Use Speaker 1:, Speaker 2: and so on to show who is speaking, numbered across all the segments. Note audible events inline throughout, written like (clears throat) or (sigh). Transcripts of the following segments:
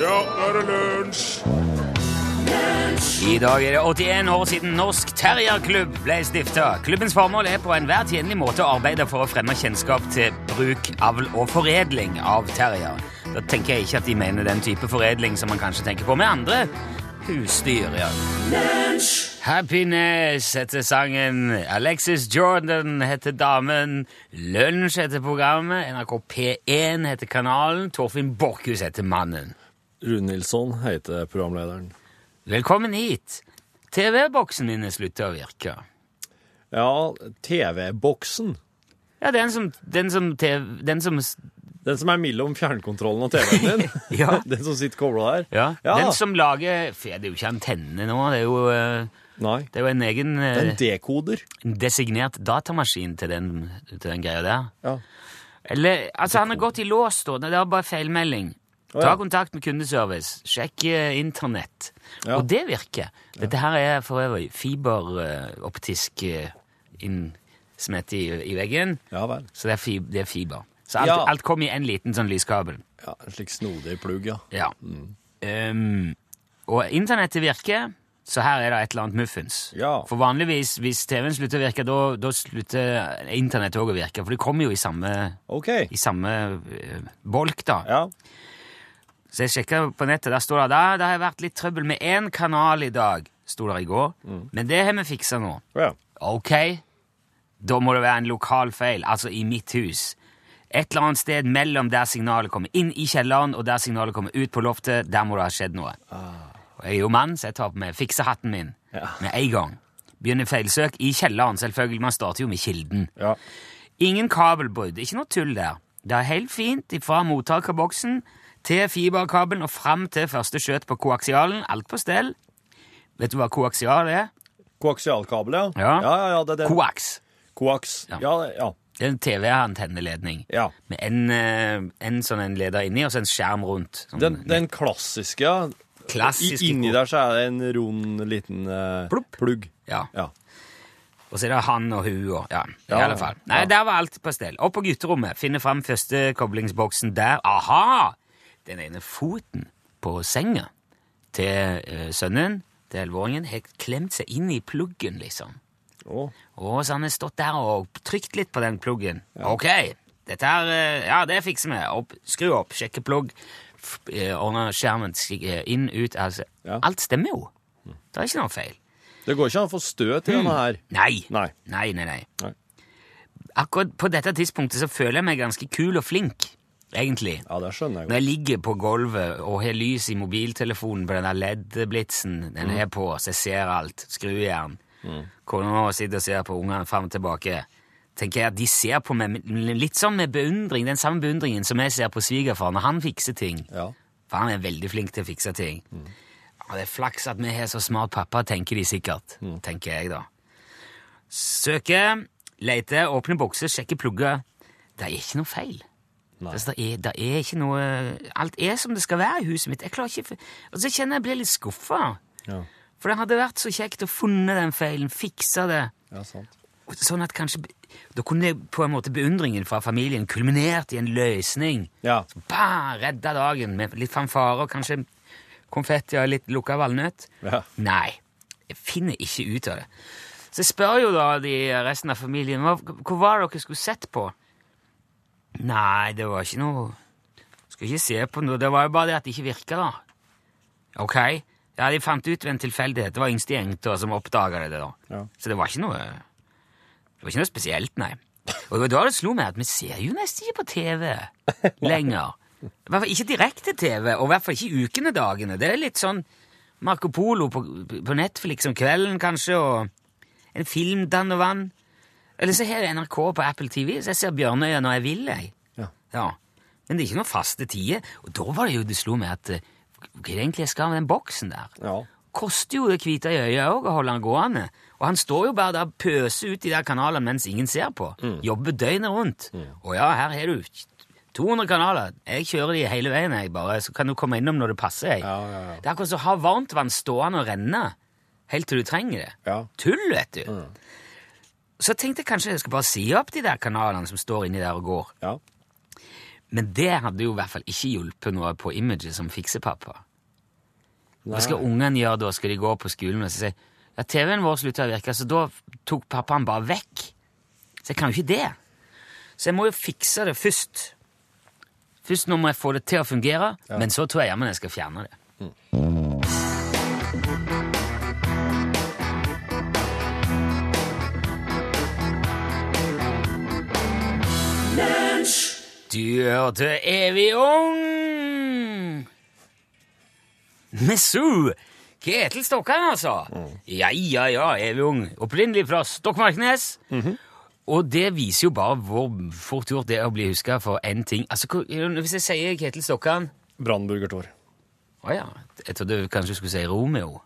Speaker 1: Ja, nå er det lunsj!
Speaker 2: I dag er det 81 år siden Norsk Terrierklubb ble stifta. Klubbens formål er på enhver tjenlig måte å arbeide for å fremme kjennskap til bruk, avl og foredling av terrier. Da tenker jeg ikke at de mener den type foredling som man kanskje tenker på med andre husdyr. ja. Happiness heter sangen. Alexis Jordan heter damen. Lunsj heter programmet. NRK P1 heter kanalen. Torfinn Borchhus heter mannen.
Speaker 3: Rune Nilsson heter programlederen.
Speaker 2: Velkommen hit. TV-boksen min er sluttet å virke.
Speaker 3: Ja, TV-boksen.
Speaker 2: Ja, den som, den som, TV, den som
Speaker 3: (laughs)
Speaker 2: s-
Speaker 3: Den som er mellom fjernkontrollen og TV-en (laughs) din.
Speaker 2: Ja.
Speaker 3: Den som sitter kobla der.
Speaker 2: ja, Den som lager for Det er jo ikke antenne nå, det er jo, eh,
Speaker 3: Nei.
Speaker 2: det er jo en egen eh,
Speaker 3: Den dekoder.
Speaker 2: designert datamaskin til den, til den greia der.
Speaker 3: Ja.
Speaker 2: Eller, altså, han har gått i lås, da. Det er bare feilmelding.
Speaker 3: ja.
Speaker 2: Ta kontakt med kundeservice. Sjekk eh, internett.
Speaker 3: Ja.
Speaker 2: Og det virker. Dette her er for øvrig eh, fiberoptisk uh, innsmett i, i veggen.
Speaker 3: Ja vel.
Speaker 2: Så det er, fi- det er fiber. Så alt,
Speaker 3: Ja.
Speaker 2: alt kom i en liten sånn lyskabel.
Speaker 3: Ja, En slik snodig plugg, ja.
Speaker 2: Ja. Mm. Ehm, og internettet virker, så her er det et eller annet muffens.
Speaker 3: Ja.
Speaker 2: For vanligvis, hvis TV-en slutter å virke, da- da slutter internettet òg å virke. For det kommer jo i samme,
Speaker 3: Ok.
Speaker 2: i samme eh, bolk, da.
Speaker 3: Ja.
Speaker 2: Så jeg sjekka på nettet, der står det da, det har vært litt trøbbel med én kanal i dag, sto det i går.
Speaker 3: Mm.
Speaker 2: Men det har vi fiksa nå.
Speaker 3: ja.
Speaker 2: Ok, da må det være en lokal feil, altså i mitt hus. Et eller annet sted mellom der signalet kommer inn i kjelleren og der signalet kommer ut på loftet, der må det ha skjedd noe. Og jeg er jo mann, så jeg tar på meg fiksehatten min
Speaker 3: Ah. Ja.
Speaker 2: med en gang. Begynner feilsøk i kjelleren, selvfølgelig. Man starter jo med kilden.
Speaker 3: Ja.
Speaker 2: Ingen kabelbrudd, ikke noe tull der. Det er helt fint fra mottakerboksen til fiberkabelen og fram til første skjøt på koaksialen. Alt på stell. Vet du hva koaksial er?
Speaker 3: Koaksialkabel, ja.
Speaker 2: Ja.
Speaker 3: ja, ja, det er den.
Speaker 2: Koaks.
Speaker 3: Koaks.
Speaker 2: Ja.
Speaker 3: Ja, ja.
Speaker 2: Det er en TV-antenneledning.
Speaker 3: ja.
Speaker 2: Med en, eh, en sånn en leder inni, og så en skjerm rundt. Sånn,
Speaker 3: Den, den klassiske, ja.
Speaker 2: Klassiske
Speaker 3: I- Inni
Speaker 2: ko-
Speaker 3: der så er det en rund, liten eh,
Speaker 2: Plopp.
Speaker 3: plugg.
Speaker 2: Ja.
Speaker 3: Ja.
Speaker 2: Og så er det han og hun og Ja, i
Speaker 3: Ja,
Speaker 2: alle fall. Nei,
Speaker 3: ja.
Speaker 2: der var alt på stell. Opp på gutterommet. Finne fram første koblingsboksen der. Aha! Den ene foten på senga til eh, sønnen, til elleveåringen, har klemt seg inn i pluggen, liksom.
Speaker 3: Å.
Speaker 2: Å, så han har stått der og trykt litt på den pluggen. Ok, dette her, eh, ja, det fikser vi. Opp, skru opp, sjekke plugg, f- eh, ordne skjermen skik- eh, inn, ut, altså.
Speaker 3: Ja.
Speaker 2: Alt stemmer jo. Det er ikke noe feil.
Speaker 3: Det går ikke an å få støt i
Speaker 2: Hmm.
Speaker 3: denne her.
Speaker 2: Nei.
Speaker 3: Nei.
Speaker 2: Nei, nei, nei.
Speaker 3: Nei.
Speaker 2: Akkurat på dette tidspunktet så føler jeg meg ganske kul og flink, egentlig.
Speaker 3: Ja, det skjønner jeg godt.
Speaker 2: Når jeg ligger på gulvet og har lys i mobiltelefonen på den der LED-blitsen den er på, så jeg ser alt, skrujern, kona sitter og ser på ungene fram og tilbake, tenker jeg at de ser på meg med- litt sånn med beundring, den samme beundringen som jeg ser på svigerfar når han fikser ting.
Speaker 3: Ja.
Speaker 2: For han er veldig flink til å fikse ting. Ja, det er flaks at vi har så smart pappa, tenker de sikkert. Tenker jeg, da. Søker, leter, åpner bokser, sjekker plugger. Det er ikke noe feil. Altså, det, er, det er ikke noe Alt er som det skal være i huset mitt. Jeg klarer ikke Og så kjenner jeg jeg blir litt skuffa.
Speaker 3: Ja.
Speaker 2: For det hadde vært så kjekt å funne den feilen, fiksa det.
Speaker 3: ja, sant.
Speaker 2: Sånn at kanskje Da kunne det på en måte beundringen fra familien kulminert i en løsning.
Speaker 3: Ja.
Speaker 2: Bah, redda dagen med litt fanfare og kanskje konfetti og litt lukka valnøtt.
Speaker 3: Ja.
Speaker 2: Nei, jeg finner ikke ut av det. Så jeg spør jo da de resten av familien hva, hva var det dere skulle sett på. Nei, det var ikke noe Skulle ikke se på noe. Det var jo bare det at det ikke virka, da. Ok. Ja, de fant ut ved en tilfeldighet. Det var yngste jenta som oppdaga det, da.
Speaker 3: Ja.
Speaker 2: Så det var ikke noe Det var ikke noe spesielt, nei. Og det var da det slo meg at vi ser jo nesten ikke på TV lenger. I hvert fall ikke direkte-TV, og i hvert fall ikke i ukene dagene. Det er litt sånn Marco Polo på, på Netflix om kvelden, kanskje, og en film dann og vann. Eller så har jeg NRK på Apple TV, så jeg ser Bjørnøya når jeg vil, jeg.
Speaker 3: Ja.
Speaker 2: Men det er ikke noen faste tider. Og da var det jo det slo meg at eh, hva er det egentlig jeg skal med den boksen der?
Speaker 3: Ja.
Speaker 2: koster jo det hvite øyet òg å holde han gående. Og han står jo bare der og pøser ut i de kanalene mens ingen ser på.
Speaker 3: Mm.
Speaker 2: Jobber døgnet rundt. Og ja, her har du 200 kanaler. Jeg kjører de hele veien, jeg bare. Så kan du komme innom når det passer. Jeg.
Speaker 3: Ja, ja, ja.
Speaker 2: Det er akkurat som å ha varmtvann stående og renne helt til du trenger det.
Speaker 3: Ja. Mm.
Speaker 2: Tull, vet du. Så tenkte jeg kanskje jeg skal bare si opp de der kanalene som står inni der og går.
Speaker 3: Ja.
Speaker 2: Men det hadde jo i hvert fall ikke hjulpet noe på imaget som fiksepappa. Hva skal
Speaker 3: Nei.
Speaker 2: ungene gjøre da? Skal de gå på skolen og så si ja, TV-en vår slutta å virke, så da tok pappaen bare vekk. Så jeg kan jo ikke det. Så jeg må jo fikse det først. Først nå må jeg få det til å fungere, men så tror jeg jammen jeg skal fjerne det. Du hørte Evig ung! Messu! Ketil Stokkan, altså. Ja, ja, ja, evig ung. Opprinnelig fra Stokmarknes. Og det viser jo bare hvor fort gjort det er å bli huska for én ting. Altså, hvor- Hvis jeg sier Ketil Stokkan
Speaker 3: Brannburgertår.
Speaker 2: Å ja, jeg trodde kanskje du skulle si Romeo.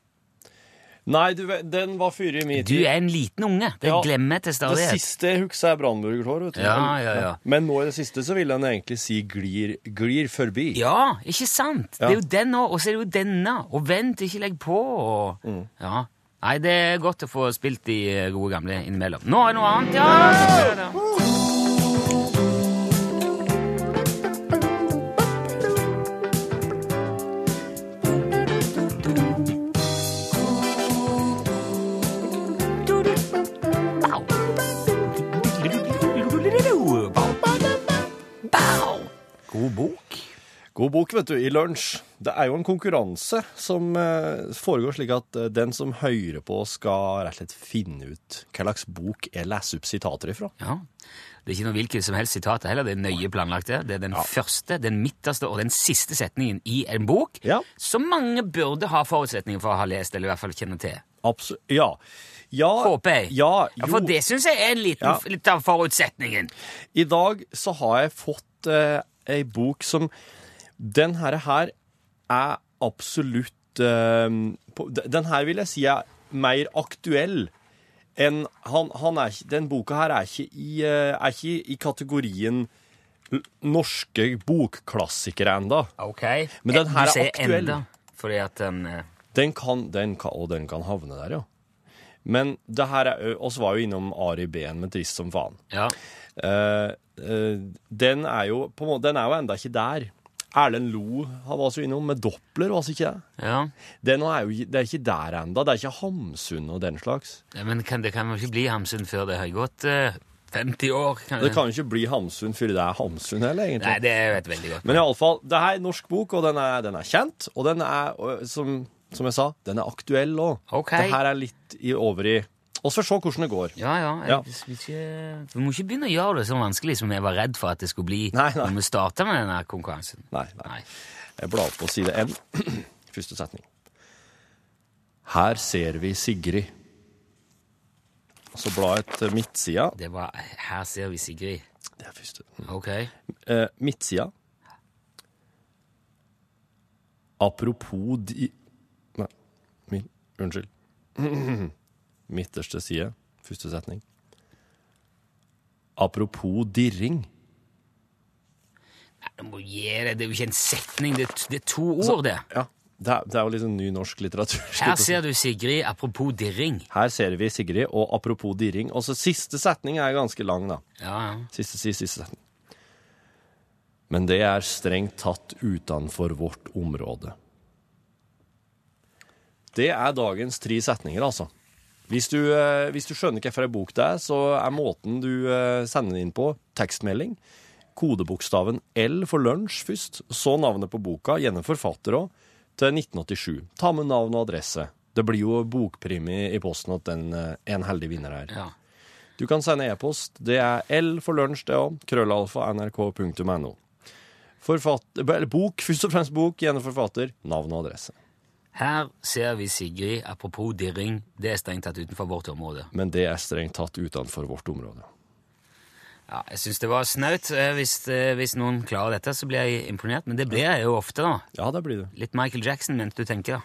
Speaker 3: Nei, du, vet, den var fyrig i min
Speaker 2: Du er en liten unge. Det
Speaker 3: Ja,
Speaker 2: glemmer jeg til
Speaker 3: Det
Speaker 2: stadighet.
Speaker 3: siste jeg husker, er brannburgertår. vet du.
Speaker 2: Ja, ja, ja.
Speaker 3: Men nå i det siste så vil en egentlig si glir, glir forbi.
Speaker 2: Ja, ikke sant? Det er jo den òg, og så er det jo denne. Og vent, ikke legg på. Og, ja. Nei, det er godt å få spilt de gode gamle innimellom. Nå er det noe annet, ja! ja, ja. God bok.
Speaker 3: God bok, vet du, i lunsj. Det er jo en konkurranse som eh, foregår slik at eh, den som hører på, skal rett og slett finne ut hva slags bok jeg leser opp sitater ifra.
Speaker 2: Ja. Det er ikke noe hvilket som helst sitat heller, det er nøye planlagt. Det Det er den første, den midterste og den siste setningen i en bok
Speaker 3: Ja.
Speaker 2: som mange burde ha forutsetninger for å ha lest, eller i hvert fall kjenne til.
Speaker 3: Absolutt. Ja. ja.
Speaker 2: Håper jeg.
Speaker 3: Ja,
Speaker 2: Ja,
Speaker 3: jo.
Speaker 2: for det syns jeg er en liten,
Speaker 3: Ja.
Speaker 2: litt av forutsetningen.
Speaker 3: I dag så har jeg fått eh, ei bok som Den her, her er absolutt eh, på, d- Den her vil jeg si er mer aktuell enn han, han er, ikke- Den boka her er ikke i, eh, er ikke i kategorien l- norske bokklassikere ennå.
Speaker 2: Ok.
Speaker 3: Men den her
Speaker 2: du
Speaker 3: er
Speaker 2: sier
Speaker 3: aktuell.
Speaker 2: enda, fordi at den eh,
Speaker 3: Den kan, den kan, og den kan havne der, ja. Men det her er ø- oss var jo innom Ari Behn med Trist som faen.
Speaker 2: Ja.
Speaker 3: Eh, eh, den er jo på en måte, Den er jo enda ikke der. Erlend Lo han var så innom med Doppler, var det ikke det?
Speaker 2: ja.
Speaker 3: Det, nå er jo, ikke- det er ikke der enda, Det er ikke Hamsun og den slags.
Speaker 2: Ja, Men kan, det kan vel ikke bli Hamsun før det har gått eh, 50 år? Kan
Speaker 3: Det kan jo ikke bli Hamsun før det er Hamsun heller, egentlig.
Speaker 2: Nei, det vet jeg veldig godt.
Speaker 3: Men iallfall, det her er en norsk bok, og den er, den er kjent. Og den er, ø, som, som jeg sa, den er aktuell òg.
Speaker 2: Ok.
Speaker 3: Det her er litt i, over i Vi får se hvordan det går.
Speaker 2: Ja, ja. Jeg,
Speaker 3: Ja.
Speaker 2: skal ikke, vi må ikke begynne å gjøre det så vanskelig som jeg var redd for at det skulle bli
Speaker 3: Nei, nei.
Speaker 2: når vi starta med denne konkurransen.
Speaker 3: Nei, nei.
Speaker 2: Nei.
Speaker 3: Jeg blar på side 1, (clears throat) første setning. Her ser vi Sigrid. Så bla jeg til midtsida.
Speaker 2: Det var Her ser vi Sigrid.
Speaker 3: Det er første.
Speaker 2: Ok.
Speaker 3: Eh, midtsida. Apropos de... Nei, min, unnskyld. (clears throat) Midterste side, første setning. Apropos dirring.
Speaker 2: Nei, du må gi deg. Det er jo ikke en setning, det, er- det er to ord, det.
Speaker 3: Ja, det er, det er jo liksom ny norsk litteratur.
Speaker 2: Her ser du Sigrid, apropos dirring.
Speaker 3: Her ser vi Sigrid, og apropos dirring. Og så siste setning er ganske lang, da.
Speaker 2: Ja, ja.
Speaker 3: Siste, siste, siste setning. Men det er strengt tatt utenfor vårt område. Det er dagens tre setninger, altså. Hvis du, eh, hvis du skjønner hvilken bok det er, så er måten du eh, sender den inn på tekstmelding. Kodebokstaven L for lunsj først, så navnet på boka, gjerne forfatter òg, til 1987. Ta med navn og adresse. Det blir jo bokpremie i posten at den eh, er en heldig vinner her.
Speaker 2: ja.
Speaker 3: Du kan sende e-post. Det er L for lunsj, det òg. Krøllalfa nrk.no. Forfatt- eller Bok, først og fremst bok, gjerne forfatter, navn og adresse.
Speaker 2: Her ser vi Sigrid, apropos dirring. Det er strengt tatt utenfor vårt område.
Speaker 3: Men det er strengt tatt utenfor vårt område.
Speaker 2: Ja, jeg syns det var snaut. Eh, Hvis, eh, hvis noen klarer dette, så blir jeg imponert. Men det blir jeg jo ofte, da.
Speaker 3: Ja, det blir det.
Speaker 2: Litt Michael Jackson, mente du tenker, da.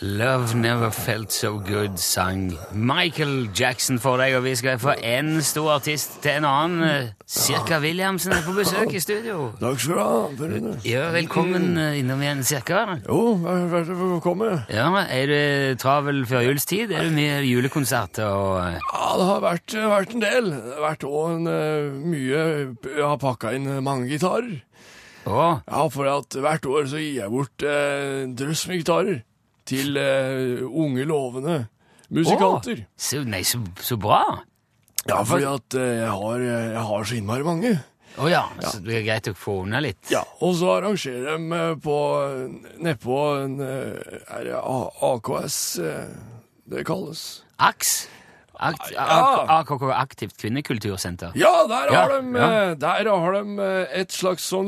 Speaker 2: Love Never Felt So Good sang Michael Jackson for deg, og vi skal få en stor artist til en annen. Cirka Williamsen er på besøk i studio.
Speaker 3: Takk skal du ha. Per Rune.
Speaker 2: Ja, velkommen eh, innom igjen, cirka.
Speaker 3: Jo, vær vær så velkommen.
Speaker 2: Ja, Er du travel før julstid? Er du mye julekonserter og
Speaker 3: Ja, det har vært, vært en del. Det har vært også en, eh, mye Jeg har pakka inn mange gitarer.
Speaker 2: Å,
Speaker 3: Ja, for at hvert år så gir jeg bort eh, en drøss med gitarer til eh, unge, lovende musikanter.
Speaker 2: så, nei, så, så bra!
Speaker 3: Ja, fordi at eh, jeg, har, jeg har så innmari mange.
Speaker 2: Å ja, så det er greit å få unna litt.
Speaker 3: Ja, og så arrangerer de eh, på nedpå en eh, Er det A- AKS eh, det kalles?
Speaker 2: AKS? Akt,
Speaker 3: Ja.
Speaker 2: AKK Aktivt Kvinnekultursenter.
Speaker 3: Ja, der
Speaker 2: Ja,
Speaker 3: har de,
Speaker 2: ja.
Speaker 3: eh, der har de eh, et slags sånn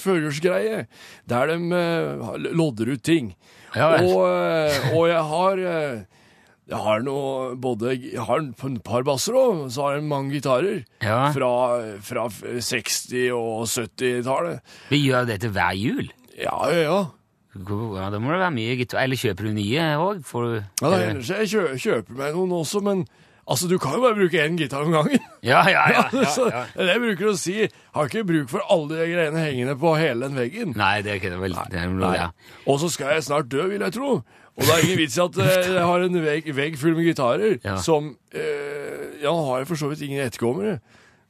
Speaker 3: juleførjulsgreie, der de eh, har- lodder ut ting.
Speaker 2: Ja vel.
Speaker 3: og, eh, og jeg har eh, Jeg har noe både Jeg har en- på en par basser òg, så har jeg mange gitarer.
Speaker 2: Ja.
Speaker 3: Fra, fra 60- og 70-tallet.
Speaker 2: Vi gjør dette hver jul.
Speaker 3: Ja, ja, ja.
Speaker 2: God- Ja, da må det være mye gitar. Eller kjøper du nye òg?
Speaker 3: Ja, da
Speaker 2: Eh.
Speaker 3: hender det seg jeg kjø kjøper meg noen også, men altså, du kan jo bare bruke én gitar om gangen.
Speaker 2: Ja,
Speaker 3: (laughs)
Speaker 2: ja, ja. ja,
Speaker 3: Så
Speaker 2: ja.
Speaker 3: Det er det jeg bruker å si. Har ikke bruk for alle de greiene hengende på hele den veggen.
Speaker 2: Nei, det er ikke det. er Vel, det er noe,
Speaker 3: Nei.
Speaker 2: ja.
Speaker 3: Og så skal jeg snart dø, vil jeg tro. Og det er ingen vits i at eh, jeg har en vegg, vegg full med gitarer
Speaker 2: Ja.
Speaker 3: som eh, Ja, nå har jeg for så vidt ingen etterkommere.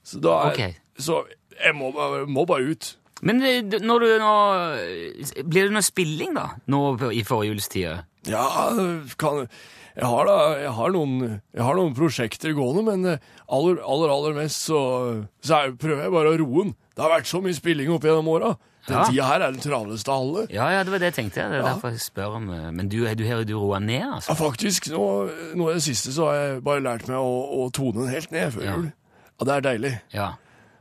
Speaker 3: Så da er
Speaker 2: Ok.
Speaker 3: Så jeg må, bare- må bare ut.
Speaker 2: Men eh, d- når du nå eh, Blir det noe spilling, da? Nå på- i forjulstida?
Speaker 3: Ja, kan jeg har, da, jeg, har noen, jeg har noen prosjekter gående, men eh, aller, aller, aller mest så, så er, prøver jeg bare å roe den. Det har vært så mye spilling opp gjennom åra. Den
Speaker 2: Ja.
Speaker 3: tida her er den travleste av alle.
Speaker 2: Ja, ja, det var det jeg tenkte. Det er derfor jeg spør om eh, Men du, du har jo du roa ned, altså?
Speaker 3: Ja, faktisk, nå, nå i det siste så har jeg bare lært meg å, å tone den helt ned før
Speaker 2: Ja.
Speaker 3: jul. Ja, det er deilig.
Speaker 2: Ja.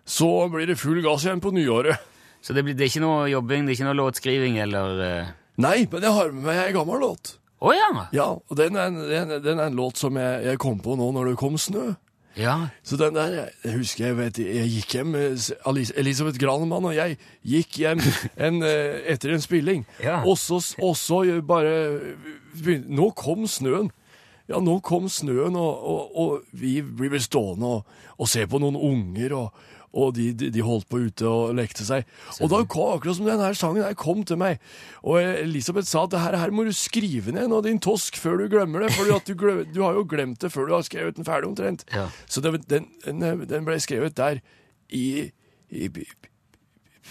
Speaker 3: Så blir det full gass igjen på nyåret.
Speaker 2: Så det, blir, det er ikke noe jobbing, det er ikke noe låtskriving eller eh,
Speaker 3: Nei, men jeg har med meg ei gammel låt.
Speaker 2: Å ja!
Speaker 3: Ja, og den er, en- den, er- den er en låt som jeg, jeg kom på nå når det kom snø.
Speaker 2: Ja.
Speaker 3: Så den der, jeg- jeg husker jeg, vet, jeg gikk hjem, eh, s- Alice- Elisabeth Granemann og jeg gikk hjem en, eh, etter en spilling,
Speaker 2: Ja.
Speaker 3: og så s- og så bare, begyn- nå kom snøen, ja, nå kom snøen, og, og, og vi blir vel stående og, og se på noen unger, og, og de, de, de holdt på ute og lekte seg, og da kom akkurat som denne sangen her kom til meg, og eh, Elisabeth sa at det her, her må du skrive ned nå, din tosk, før du glemmer det, for du, glem- du har jo glemt det før du har skrevet den ferdig omtrent.
Speaker 2: Ja.
Speaker 3: Så det, den, den, den ble skrevet der i, i pi,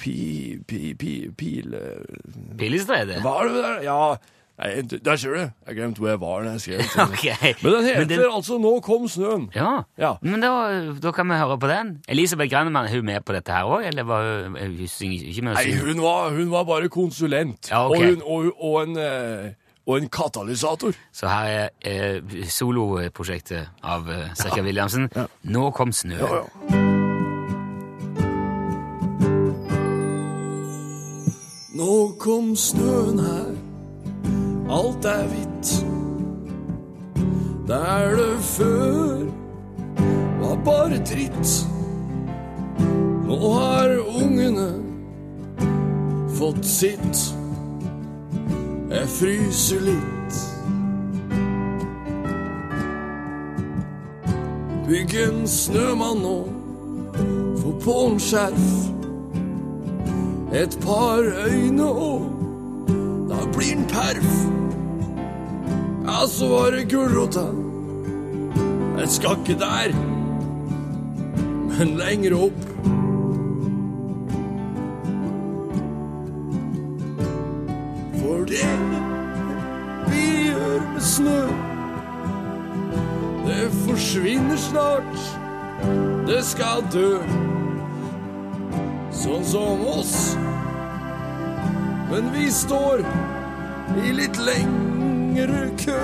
Speaker 3: pi, pi, pi, Pile...
Speaker 2: Pillestredet?
Speaker 3: Hva er det der? Ja, nei, der ser du. Jeg glemte hvor jeg var da jeg
Speaker 2: (laughs)
Speaker 3: skrev den.
Speaker 2: (laughs) Ok.
Speaker 3: Men den heter altså Nå kom snøen.
Speaker 2: Ja.
Speaker 3: Ja.
Speaker 2: Men da, da kan vi høre på den. Elisabeth Grannemann, er hun med på dette her òg, eller var hun, hun synger ikke med? å
Speaker 3: Nei,
Speaker 2: synge?
Speaker 3: hun var, hun var bare konsulent.
Speaker 2: Ja, ok.
Speaker 3: og, hun, og, og, en, eh, og en katalysator.
Speaker 2: Så her er eh, soloprosjektet av eh, Serkja Williamsen. Nå kom snøen.
Speaker 3: Ja, ja. Nå kom snøen her, alt er hvitt. Der det før var bare dritt. Nå har ungene fått sitt. Jeg fryser litt. Bygg en snømann nå, få på en skjerf. Et par øyne og da blir den perf. Ja, så var det gulrota. Jeg skal ikke der, men lenger opp. For det vi gjør med snø det forsvinner snart. Det skal dø. Sånn som oss. Men vi står i litt lengre kø.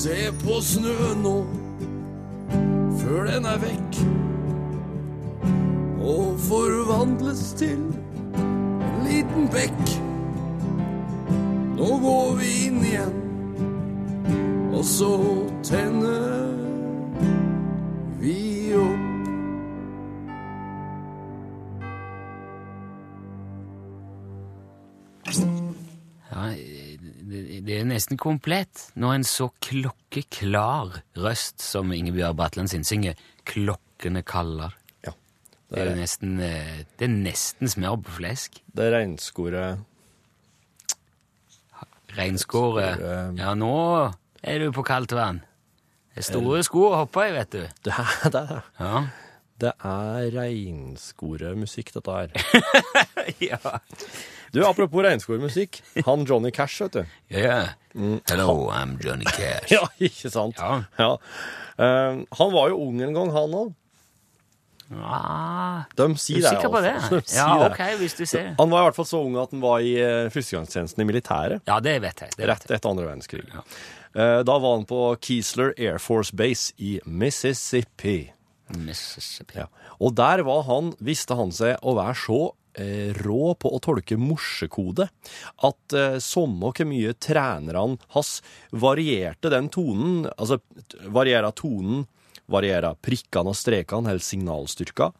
Speaker 4: Se på snøen nå, før den er vekk. Og forvandles til en liten bekk. Nå går vi inn igjen, og så tenner vi opp.
Speaker 2: Ja, det, det er nesten komplett når en så klokkeklar røst som Ingebjørg Bratland sin synger 'Klokkene kaller'.
Speaker 3: Ja.
Speaker 2: Det er jo nesten, eh, det er nesten smør på flesk.
Speaker 3: Det er regnskoret
Speaker 2: Reinskåret.
Speaker 3: tror, eh,
Speaker 2: Ja, nå er du på kaldt vann. Det er store sko å hoppe i, vet du.
Speaker 3: (laughs) Det er, det er,
Speaker 2: Ja.
Speaker 3: det er regnskoremusikk, dette her.
Speaker 2: ja.
Speaker 3: Du, apropos regnskoremusikk. Han Johnny Cash, vet du.
Speaker 2: Yeah.
Speaker 3: Mm.
Speaker 2: Hello, I'm Johnny
Speaker 3: (laughs)
Speaker 2: Cash.
Speaker 3: Ja, ikke sant?
Speaker 2: Ja.
Speaker 3: Ja. Eh, han var jo ung en gang, han òg.
Speaker 2: (laughs) Ah,
Speaker 3: De sier
Speaker 2: er du
Speaker 3: det.
Speaker 2: sikker på det?
Speaker 3: altså. (laughs) De sier
Speaker 2: Ja,
Speaker 3: det.
Speaker 2: ok, hvis du ser det.
Speaker 3: Han var i hvert fall så ung at han var i eh, førstegangstjenesten i militæret.
Speaker 2: Ja, det vet jeg. Det vet
Speaker 3: Rett
Speaker 2: jeg.
Speaker 3: etter andre verdenskrig.
Speaker 2: Ja.
Speaker 3: Eh, Da var han på Keesler Air Force Base i Mississippi.
Speaker 2: Mississippi.
Speaker 3: Ja. Og der var han, visste han seg å være så eh, rå på å tolke morsekode at eh, samme hvor mye trenerne hans varierte den tonen, altså t- variera tonen, variera prikkene og strekene, eller signalstyrka,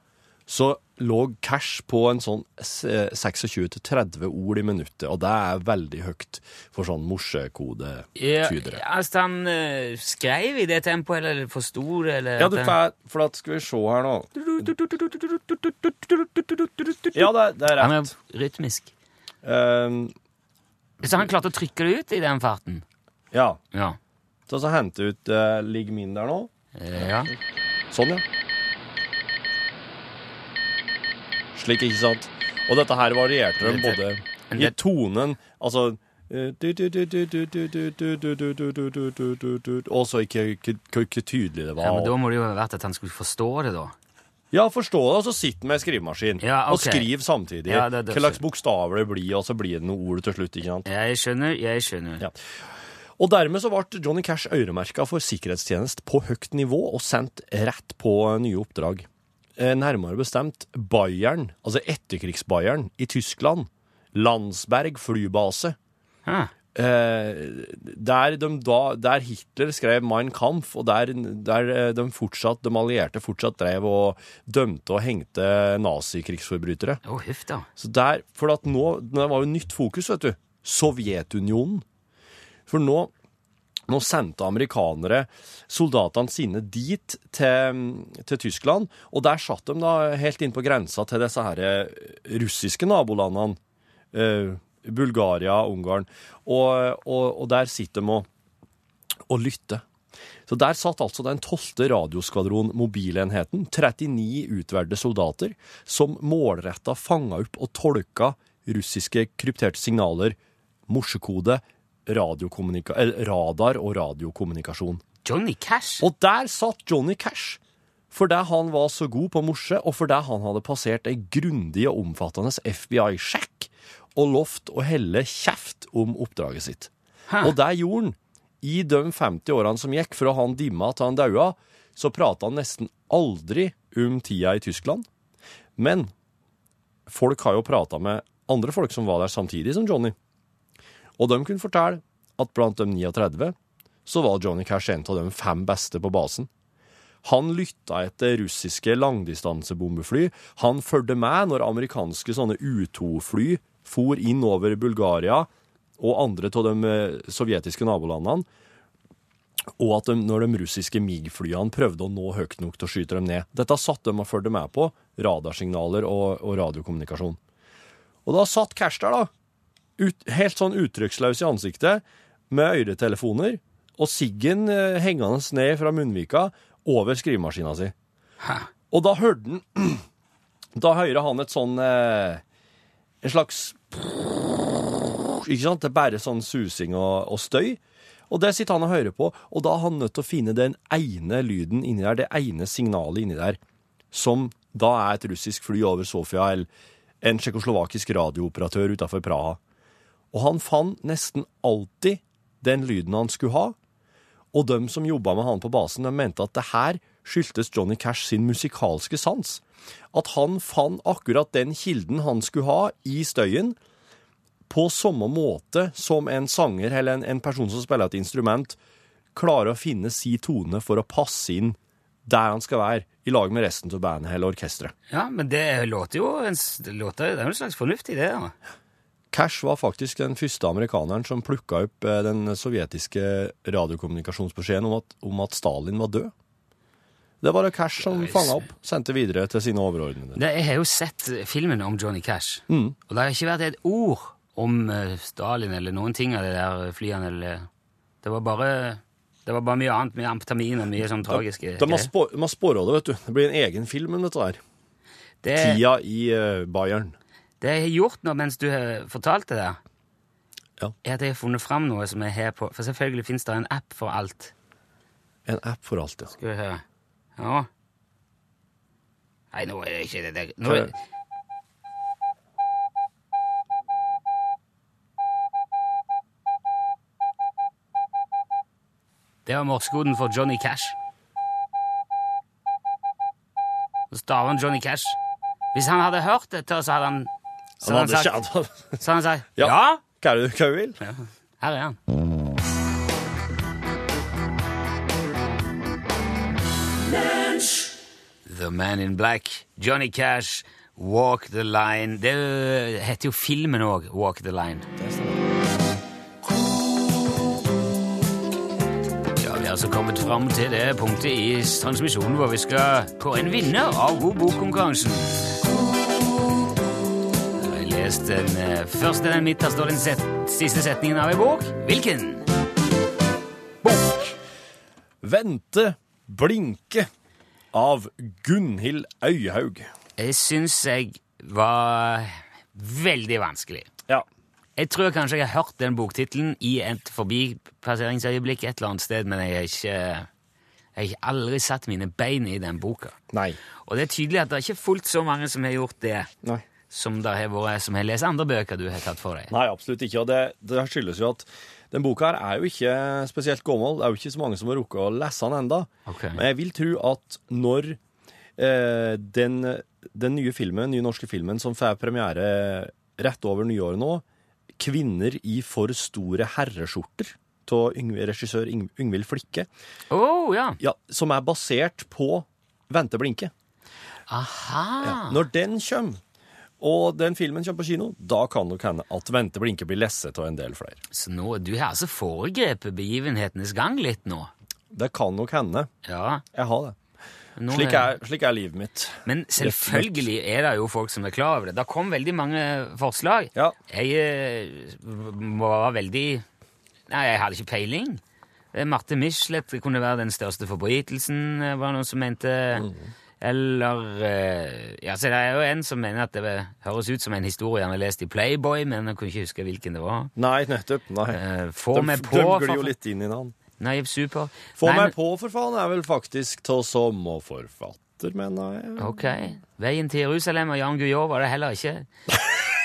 Speaker 3: så lå cash på en sånn s- eh, 26-30 ord i minuttet, og det er veldig høyt for sånn
Speaker 2: Ja,
Speaker 3: morsekodetydere.
Speaker 2: altså, han eh, skrev i det tempoet, eller forsto det, eller
Speaker 3: Ja,
Speaker 2: at
Speaker 3: du
Speaker 2: han-
Speaker 3: får, for at skal vi se her nå. Ja, det, er- det er
Speaker 2: Han
Speaker 3: rett.
Speaker 2: er rytmisk.
Speaker 3: Um,
Speaker 2: Så han klarte å trykke det ut i den farten?
Speaker 3: ja.
Speaker 2: Ja.
Speaker 3: Så så hente ut uh, ligg min der nå.
Speaker 2: Eh, ja.
Speaker 3: Sånn, ja. Slik, ikke sant? Og dette her varierte de både i tonen, altså Og så ikke hvor tydelig det
Speaker 2: ja, men Da
Speaker 3: var.
Speaker 2: må det jo ha vært at han skulle forstå det, da.
Speaker 3: Ja, forstå det, og så sitter han med skrivemaskin og skriver samtidig. Hva slags bokstaver det blir, og så blir det noen ord til slutt. ikke sant?
Speaker 2: Jeg skjønner, jeg skjønner.
Speaker 3: Ja. Og dermed så ble Johnny Cash øremerka for sikkerhetstjenest på høyt nivå og sendt rett på nye oppdrag. Eh, Nærmere bestemt Bayern, altså etterkrigs-Bayern i Tyskland. Landsberg flybase.
Speaker 2: Ah,
Speaker 3: Eh, der, de da, der Hitler skrev Mein Kampf, og der, der eh, de, fortsatt, de allierte fortsatt drev og dømte og hengte nazikrigsforbrytere.
Speaker 2: Å, huff da.
Speaker 3: Så der, for at nå, det var jo nytt fokus, vet du. Sovjetunionen. For nå, nå sendte amerikanere soldatene sine dit til, til Tyskland, og der satt de da helt inn på grensa til disse her eh, russiske nabolandene. eh, Bulgaria, Ungarn. Og, og, og der sitter de og, og lytter. Så der satt altså den 12. radioskvadron mobilenheten, 39 utvalgte soldater, som målretta fanga opp og tolka russiske krypterte signaler, morsekode, radiokommunika- eller radar og radiokommunikasjon.
Speaker 2: Johnny Cash?
Speaker 3: Og der satt Johnny Cash! Fordi han var så god på morse, og fordi han hadde passert ei grundig og omfattende FBI-sjekk, og lovt å helle kjeft om oppdraget sitt.
Speaker 2: Hæ?
Speaker 3: Og det gjorde han. I de 50 årene som gikk fra han dimma til han daua, så prata han nesten aldri om tida i Tyskland. Men folk har jo prata med andre folk som var der samtidig som Johnny. Og de kunne fortelle at blant de 39 så var Johnny Cash en av de fem beste på basen. Han lytta etter russiske langdistansebombefly. Han fulgte med når amerikanske sånne U-2-fly for inn over Bulgaria og andre av de eh, sovjetiske nabolandene. Og at de, når de russiske MIG-flyene prøvde å nå høyt nok til å skyte dem ned. Dette satt de og fulgte med på. Radarsignaler og, og radiokommunikasjon. Og da satt Cash der, da. Ut, helt sånn uttrykksløs i ansiktet, med øretelefoner, og siggen eh, hengende ned fra munnvika over skrivemaskina si. Og da hørte han (clears throat) Da hører han et sånn eh, En slags Ikke sant? Det er bare sånn susing og, og støy. Og det sitter han og hører på, og da er han nødt til å finne den ene lyden inni der, det ene signalet inni der, som da er et russisk fly over Sofia, eller en tsjekkoslovakisk radiooperatør utafor Praha. Og han fant nesten alltid den lyden han skulle ha, Og de som jobba med han på basen, de mente at det her skyldtes Johnny Cash sin musikalske sans. At han fant akkurat den kilden han skulle ha i støyen, på samme måte som en sanger eller en, en person som spiller et instrument, klarer å finne si tone for å passe inn der han skal være, i lag med resten av bandet eller orkesteret.
Speaker 2: Ja, men det låter jo en, s- det, låter, det er jo en slags fornuftig, det. da.
Speaker 3: Cash var faktisk den første amerikaneren som plukka opp eh, den sovjetiske radiokommunikasjonsbeskjeden om at, om at Stalin var død. Det var det Cash som fanga opp, sendte videre til sine overordnede.
Speaker 2: Det, jeg har jo sett filmen om Johnny Cash,
Speaker 3: Mm.
Speaker 2: og det har ikke vært et ord om eh, Stalin eller noen ting av det der eh, flyene eller Det var bare, det var bare mye annet, mye amfetamin og mye sånn tragiske
Speaker 3: De har spå- de har spora det, vet du. Det blir en egen film om dette der.
Speaker 2: Det,
Speaker 3: Tida i eh, Bayern.
Speaker 2: det jeg har gjort nå mens du har fortalt det der,
Speaker 3: Ja.
Speaker 2: er at jeg har funnet fram noe som jeg har på For selvfølgelig fins det en app for alt.
Speaker 3: En app for alt, ja.
Speaker 2: Skal vi høre. Ja. Nei, nå er det ikke det der. Nå
Speaker 3: Hva
Speaker 2: er
Speaker 3: er
Speaker 2: det.
Speaker 3: det?
Speaker 2: Det var morsekoden for Johnny Cash. Så staver han Johnny Cash. Hvis han hadde hørt dette, så hadde han, så
Speaker 3: Han
Speaker 2: hadde
Speaker 3: hadde
Speaker 2: han
Speaker 3: ikke
Speaker 2: sagt,
Speaker 3: hatt-
Speaker 2: så hadde han sagt
Speaker 3: (laughs) Ja.
Speaker 2: ja,
Speaker 3: Hva er det hva du vil?
Speaker 2: her er han. The Man in Black, Johnny Cash, Walk the Line. Det ø, heter jo filmen òg, Walk the Line. Ja, Vi er altså kommet fram til det punktet i transmisjonen hvor vi skal kåre en vinner av God bok-konkurransen. Jeg har lest den ø, første, den midterste og den set siste setningen av ei bok. Hvilken?
Speaker 3: Vente, blinke av Gunhild Øyhaug.
Speaker 2: Jeg syns jeg var veldig vanskelig.
Speaker 3: Ja.
Speaker 2: Jeg tror kanskje jeg har hørt den boktittelen i et forbipasseringsøyeblikk et eller annet sted, men jeg har ikke jeg har aldri satt mine bein i den boka.
Speaker 3: Nei.
Speaker 2: Og det er tydelig at det er ikke fullt så mange som har gjort det,
Speaker 3: Nei.
Speaker 2: som det har vært som har lest andre bøker du har tatt for deg.
Speaker 3: Nei, absolutt ikke. Og det, det skyldes jo at den boka her er jo ikke spesielt gammel. Det er jo ikke så mange som har rukket å lese den enda.
Speaker 2: Ok.
Speaker 3: Men jeg vil tro at når eh, den, den nye filmen, nye norske filmen som får premiere rett over nyåret nå, 'Kvinner i for store herreskjorter' av Yngve, regissør Yng- Yngvild Flikke,
Speaker 2: Å ja!
Speaker 3: ja, som er basert på 'Vente blinke'.
Speaker 2: Aha!
Speaker 3: Når den kommer, og den filmen kommer på kino, da kan det hende at 'Vente blinke' blir lesset av en del flere.
Speaker 2: Så nå, du har altså foregrepet begivenhetenes gang litt nå.
Speaker 3: Det kan nok hende.
Speaker 2: Ja.
Speaker 3: Jeg har det.
Speaker 2: Nå
Speaker 3: Slik er, slik er livet mitt.
Speaker 2: Men selvfølgelig er det jo folk som er klar over det. Det kom veldig mange forslag.
Speaker 3: Ja.
Speaker 2: Jeg eh, var veldig Nei, jeg hadde ikke peiling. Eh, Marte Michelet kunne være den største forbrytelsen, eh, var det noen som mente.
Speaker 3: Mm.
Speaker 2: Eller eh, Ja, så det er jo en som mener at det høres ut som en historie han har lest i Playboy, men jeg kunne ikke huske hvilken det var.
Speaker 3: Nei, nettopp. Nei.
Speaker 2: Eh, Få
Speaker 3: De
Speaker 2: meg
Speaker 3: f-
Speaker 2: på
Speaker 3: de glir
Speaker 2: for-
Speaker 3: jo litt inn i den.
Speaker 2: Nei, super.
Speaker 3: Få
Speaker 2: Nei, men-
Speaker 3: meg på, for faen, er vel faktisk til som og forfatter, mener jeg.
Speaker 2: Ok. Veien til Jerusalem og Jan Guillou var det heller
Speaker 3: (laughs)
Speaker 2: ikke.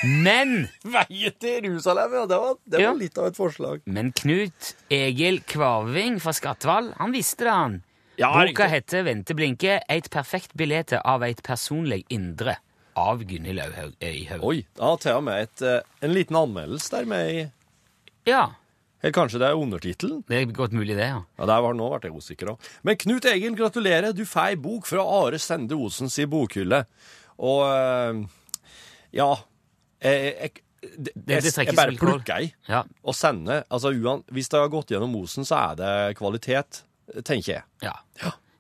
Speaker 2: Men
Speaker 3: Veien til Jerusalem, ja. Det var, det
Speaker 2: Ja.
Speaker 3: var litt av et forslag.
Speaker 2: Men Knut Egil Kvarving fra Skatval, han visste det, han.
Speaker 3: Ja,
Speaker 2: Boka
Speaker 3: riktig.
Speaker 2: heter 'Vente blinke eit perfekt bilete av eit personleg indre' av Gunhild eh, Øyhaug- Øyhaug.
Speaker 3: Oi, da har til og med et, eh, en liten anmeldelse der med i
Speaker 2: Ja,
Speaker 3: Eller kanskje det er undertittelen?
Speaker 2: det er godt mulig, det. ja.
Speaker 3: Ja, der var nå ble jeg usikker òg. Men Knut Egil, gratulerer. Du får ei bok fra Are Sende Osens i bokhylle. Og eh, ja Jeg, jeg, det-
Speaker 2: det
Speaker 3: jeg,
Speaker 2: trekkes
Speaker 3: jeg bare
Speaker 2: vel kål.
Speaker 3: plukker ei.
Speaker 2: Ja,
Speaker 3: Å sende altså uan, Hvis det har gått gjennom Osen, så er det kvalitet, tenker jeg.
Speaker 2: ja.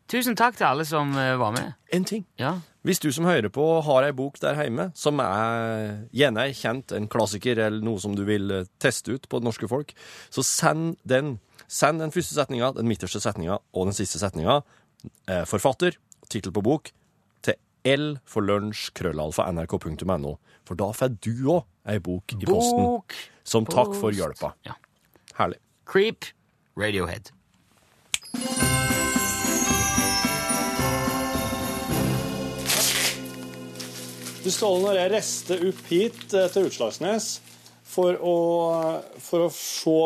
Speaker 2: Tusen takk til alle som eh, var med.
Speaker 3: En ting.
Speaker 2: Ja.
Speaker 3: Hvis du som hører på har ei bok der hjemme som er gjerne er kjent, en klassiker eller noe som du vil eh, teste ut på det norske folk, så send den. Send den første setninga, den midterste setninga og den siste setninga, eh, forfatter, tittel på bok, til L for lunsj, krøllalfa, nrk.no. For da får du òg ei bok i posten
Speaker 2: Bok
Speaker 3: som takk for
Speaker 2: post.
Speaker 3: hjelpa.
Speaker 2: Ja.
Speaker 3: Herlig.
Speaker 2: Creep, Radiohead.
Speaker 5: Du Ståle, når jeg reiste opp hit eh, til Utslagsnes for å, for å se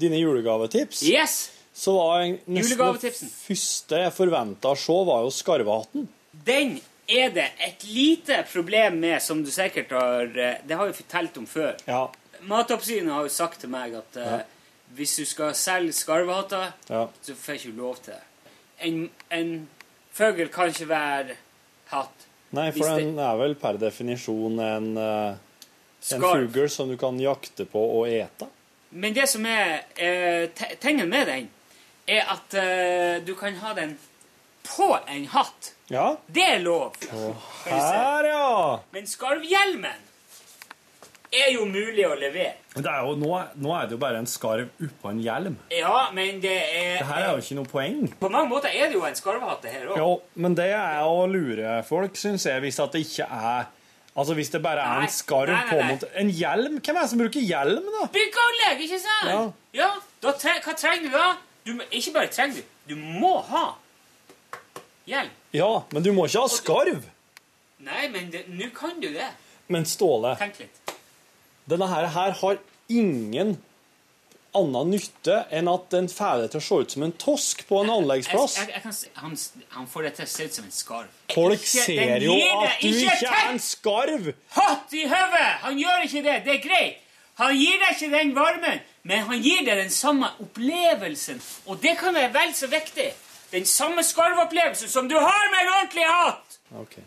Speaker 5: dine julegavetips,
Speaker 2: Yes!
Speaker 5: så var jeg nesten det
Speaker 2: Julegavetipsen.
Speaker 5: første jeg forventa å se, var jo skarvehatten.
Speaker 2: Den er det et lite problem med, som du sikkert har eh, Det har jeg fortalt om før.
Speaker 5: Ja.
Speaker 2: Matoppsynet har jo sagt til meg at eh, hvis du skal selge skarvehatter,
Speaker 5: Ja.
Speaker 2: så får ikke du lov til det. En, en fugl kan ikke være hatt.
Speaker 5: Nei, for
Speaker 2: Hvis det-
Speaker 5: den er vel per definisjon en, eh, en
Speaker 2: Skarv.
Speaker 5: fugl som du kan jakte på og ete.
Speaker 2: Men det som er eh, te- tingen med den, er at eh, du kan ha den på en hatt.
Speaker 5: Ja.
Speaker 2: Det er lov. Kan du se.
Speaker 5: Her, ja!
Speaker 2: Men skarvhjelmen er jo mulig å levere.
Speaker 5: Men det er jo, nå, nå er det jo bare en skarv oppå en hjelm.
Speaker 2: Ja, men det er
Speaker 5: Det her er jo ikke noe poeng.
Speaker 2: På mange måter er det jo en skarvehatt, det her òg.
Speaker 5: Jo, men det er å lure folk, syns jeg, hvis at det ikke er Altså hvis det bare er
Speaker 2: Nei,
Speaker 5: en skarv
Speaker 2: nei, nei,
Speaker 5: på
Speaker 2: nei.
Speaker 5: mot En hjelm? Hvem er det som bruker hjelm, da?
Speaker 2: Byggeanlegg, ikke sant?
Speaker 5: Ja.
Speaker 2: ja da tre hva trenger du da? Du, må- ikke bare trenger du, du må ha hjelm.
Speaker 5: Ja, men du må ikke ha skarv.
Speaker 2: Nei, men det- nå kan du det.
Speaker 5: Men Ståle,
Speaker 2: Tenk litt.
Speaker 5: denne her, her har ingen annen nytte enn at den får deg til å se ut som en tosk på en anleggsplass.
Speaker 2: Jeg, jeg, jeg kan, se- han, s- han får det til å se ut som en skarv.
Speaker 5: Folk
Speaker 2: Ikke-
Speaker 5: ser
Speaker 2: den
Speaker 5: jo
Speaker 2: gir deg
Speaker 5: at du
Speaker 2: ikke
Speaker 5: ikke er
Speaker 2: tenk!
Speaker 5: en skarv.
Speaker 2: Hatt i høvet! Han gjør ikke det. Det er greit. Han gir deg ikke den varmen, men han gir deg den samme opplevelsen. Og det kan være vel så viktig. Den samme skarvopplevelsen som du har med en ordentlig hatt!
Speaker 5: Ok.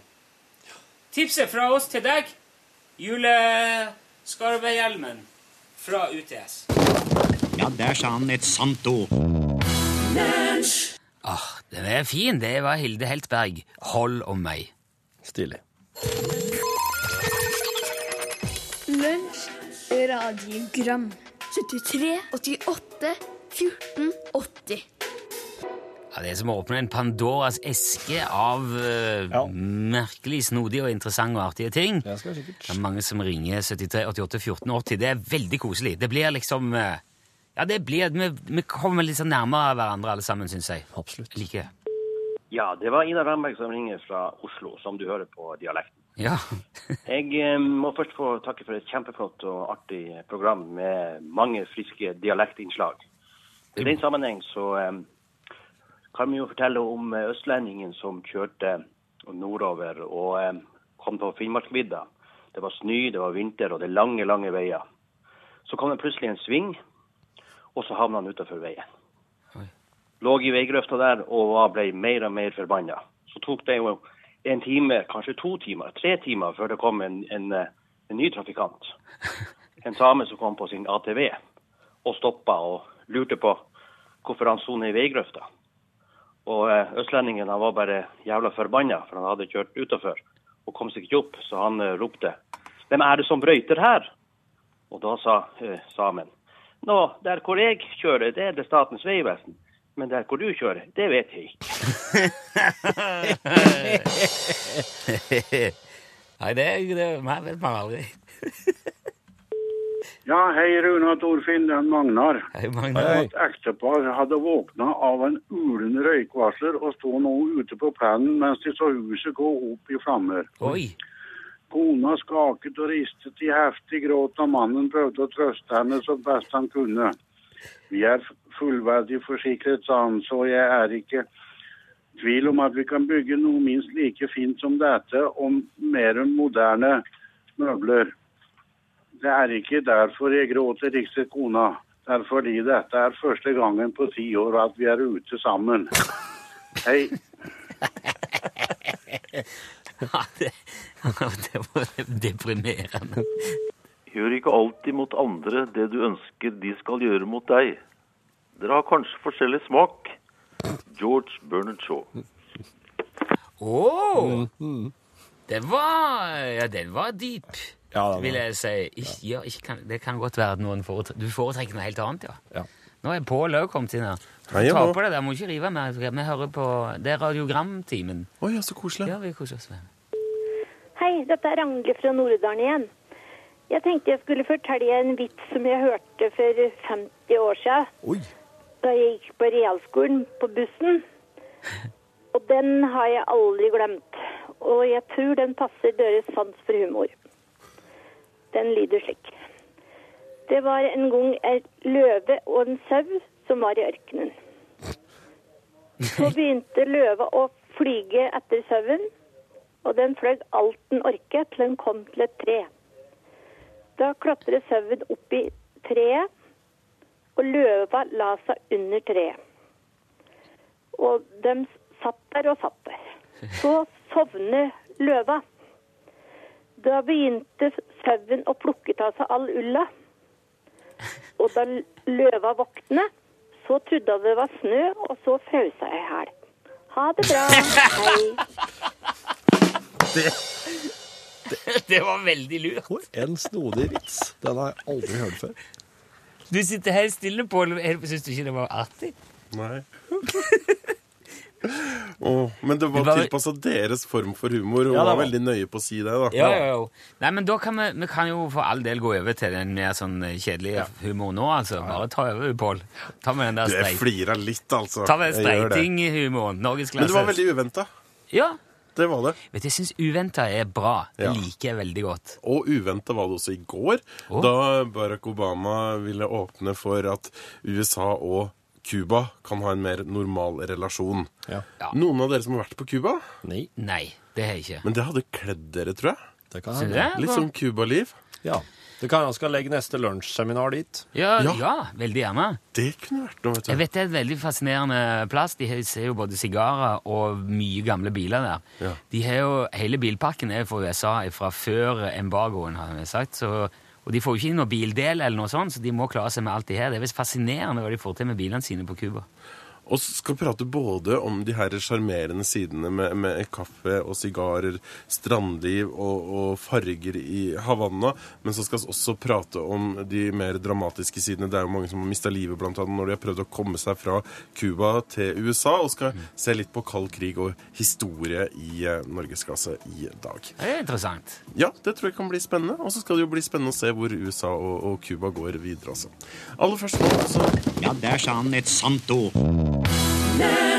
Speaker 2: Tipset fra oss til deg juleskarvehjelmen fra UTS.
Speaker 6: Ja, der sa han et sant ord.
Speaker 2: Ah, Den er fin. Det var Hilde Heltberg. 'Hold om meg'.
Speaker 3: Stilig.
Speaker 7: Lunsj, radiogram 73, 88, 14, 80
Speaker 2: Ja, det er som å åpne en Pandoras eske av eh,
Speaker 5: Ja.
Speaker 2: merkelig snodige og interessante og artige ting. Det
Speaker 5: skal jeg sikkert.
Speaker 2: er mange som ringer 73 88 14 80. Det er veldig koselig. Det blir liksom eh, Ja, det blir Vi, vi kommer litt sånn nærmere hverandre alle sammen, syns jeg.
Speaker 3: Absolutt.
Speaker 2: Jeg liker det.
Speaker 8: Ja, det var Ida Ramberg som ringer fra Oslo, som du hører på dialekten.
Speaker 2: Ja.
Speaker 8: Jeg eh, må først få takke for et kjempeflott og artig program med mange friske dialektinnslag. I den sammenheng så eh, kan vi jo fortelle om eh, østlendingen som kjørte nordover og eh, kom på Finnmarksvidda. Det var snø, det var vinter, og det er lange, lange veier. Så kom det plutselig en sving, og så havna han utafor veien lå i veigrøfta der og var- ble mer og mer forbanna. Så tok det jo en time, kanskje to timer, tre timer før det kom en, en, eh, en ny trafikant. En same som kom på sin ATV og stoppa og lurte på hvorfor han sona i veigrøfta. Og eh, østlendingen han var bare jævla forbanna, for han hadde kjørt utafor og kom seg ikke opp, så han eh, ropte 'Hvem er det som brøyter her?' Og da sa eh, samen Nå, der hvor jeg kjører, det er det Statens vegvesen. Men der hvor du kjører, det vet jeg ikke.
Speaker 2: Nei, det, det nei, vet man aldri.
Speaker 9: Ja, hei Rune og Torfinn, det er Magnar.
Speaker 2: Hei, Magne.
Speaker 9: Et ektepar hadde våkna av en ulende røykvarsler og sto nå ute på plenen mens de så huset gå opp i flammer.
Speaker 2: Oi.
Speaker 9: Kona skaket og ristet i heftig gråt da mannen prøvde å trøste henne så best han kunne. Vi er fullverdig forsikret, sa han, så jeg er ikke tvil om at vi kan bygge noe minst like fint som dette om mer moderne møbler. Det er ikke derfor jeg gråter, rikset kona. Det er fordi dette er første gangen på ti år at vi er ute (laughs) sammen. Hei.
Speaker 2: Ja, det, det var deprimerende.
Speaker 10: Gjør ikke alltid mot andre det du ønsker de skal gjøre mot deg. Dere har kanskje forskjellig smak. George Bernard Shaw.
Speaker 2: Å!
Speaker 3: Mm-hmm.
Speaker 2: Den var Ja, den var dyp,
Speaker 3: Ja, den var-
Speaker 2: vil jeg si. Ikke, ja, ikke kan, det kan godt være at noen foretrekker Du foretrekker noe helt annet, ja.
Speaker 3: Ja.
Speaker 2: Nå er Pål òg kommet inn her. Du
Speaker 3: Hei,
Speaker 2: tar
Speaker 3: Pål.
Speaker 2: på deg der, må ikke rive mer. Vi hører på Det er radiogramtimen.
Speaker 3: Oi, ja, så koselig.
Speaker 2: Ja, vi koser oss med det. (laughs)
Speaker 11: Hei, dette er Ragnhild fra Norddalen igjen. Jeg tenkte jeg skulle fortelle en vits som jeg hørte for 50 år siden
Speaker 3: Oi.
Speaker 11: da jeg gikk på realskolen på bussen. Og den har jeg aldri glemt. Og jeg tror den passer deres sans for humor. Den lyder slik. Det var en gang en løve og en sau som var i ørkenen. Så begynte løva å flyge etter sauen, og den fløy alt den orket til den kom til et tre. Da klatret sauen opp i treet, og løva la seg under treet. Og de satt der og satt der. Så sovnet løva. Da begynte sauen å plukke av seg all ulla. Og da løva våkna, så trodde hun det var snø, og så frøs hun i hæl. Ha det bra. Hei.
Speaker 2: Det, var veldig lurt.
Speaker 3: En snodig vits. Den har jeg aldri hørt før.
Speaker 2: Du sitter helt stille, Pål. Syns du ikke det var artig?
Speaker 9: Nei. Åh, men det var
Speaker 2: Det var-
Speaker 9: tilpassa deres form for humor, og
Speaker 2: Ja,
Speaker 9: ja,
Speaker 2: det
Speaker 9: var
Speaker 2: var-
Speaker 9: veldig nøye på å si det. da
Speaker 2: Jo, jo, jo. Nei, men da kan vi, vi kan jo for all del gå over til den mer sånn eh, kjedelige humor nå, altså. Bare ta over, Pål. Ta med den der
Speaker 9: Du, Jeg
Speaker 2: streit...
Speaker 9: flirer litt, altså.
Speaker 2: Ta med
Speaker 9: Jeg gjør det.
Speaker 2: streitinghumoren. Norgesklasse.
Speaker 9: Men det var veldig uventa.
Speaker 2: Ja.
Speaker 9: Det var det.
Speaker 2: Vet du, jeg syns uventa er bra. Det liker jeg veldig godt.
Speaker 9: Og uventa var det også i går, da Barack Obama ville åpne for at USA og Cuba kan ha en mer normal relasjon. Noen av dere som har vært på Cuba?
Speaker 3: Nei.
Speaker 2: Nei, det har jeg ikke.
Speaker 9: Men det hadde kledd dere, tror jeg.
Speaker 3: Det
Speaker 2: kan Ser hende. du det?
Speaker 9: Litt sånn Cuba-liv.
Speaker 3: Ja. Det kan jeg skal legge neste lunsjseminar dit.
Speaker 2: Ja, ja. veldig gjerne.
Speaker 9: Det kunne vært noe, vet
Speaker 2: Jeg vet det er et veldig fascinerende plass. De har- ser jo både sigarer og mye gamle biler der. De har jo, hele bilpakken er fra USA fra før embargoen, har jeg sagt. Så, og de får jo ikke inn noen bildel eller noe sånt, så de må klare seg med alt de har. Det er visst fascinerende hva de får til med bilene sine på Cuba.
Speaker 9: Og så skal vi prate både om de her sjarmerende sidene med, med kaffe og sigarer, strandliv og, og farger i Havanna, men så skal vi også prate om de mer dramatiske sidene. Det er jo mange som har mista livet blant annet når de har prøvd å komme seg fra Cuba til USA, og
Speaker 2: Mm.
Speaker 9: skal se litt på kald krig og historie i eh, norgesklasse i dag.
Speaker 2: Det er interessant.
Speaker 9: Ja, det tror jeg kan bli spennende. Og så skal det jo bli spennende å se hvor USA og, og Cuba går altså. videre også. Aller først nå, så
Speaker 12: Ja, der sa han et sant ord.
Speaker 9: Nerd!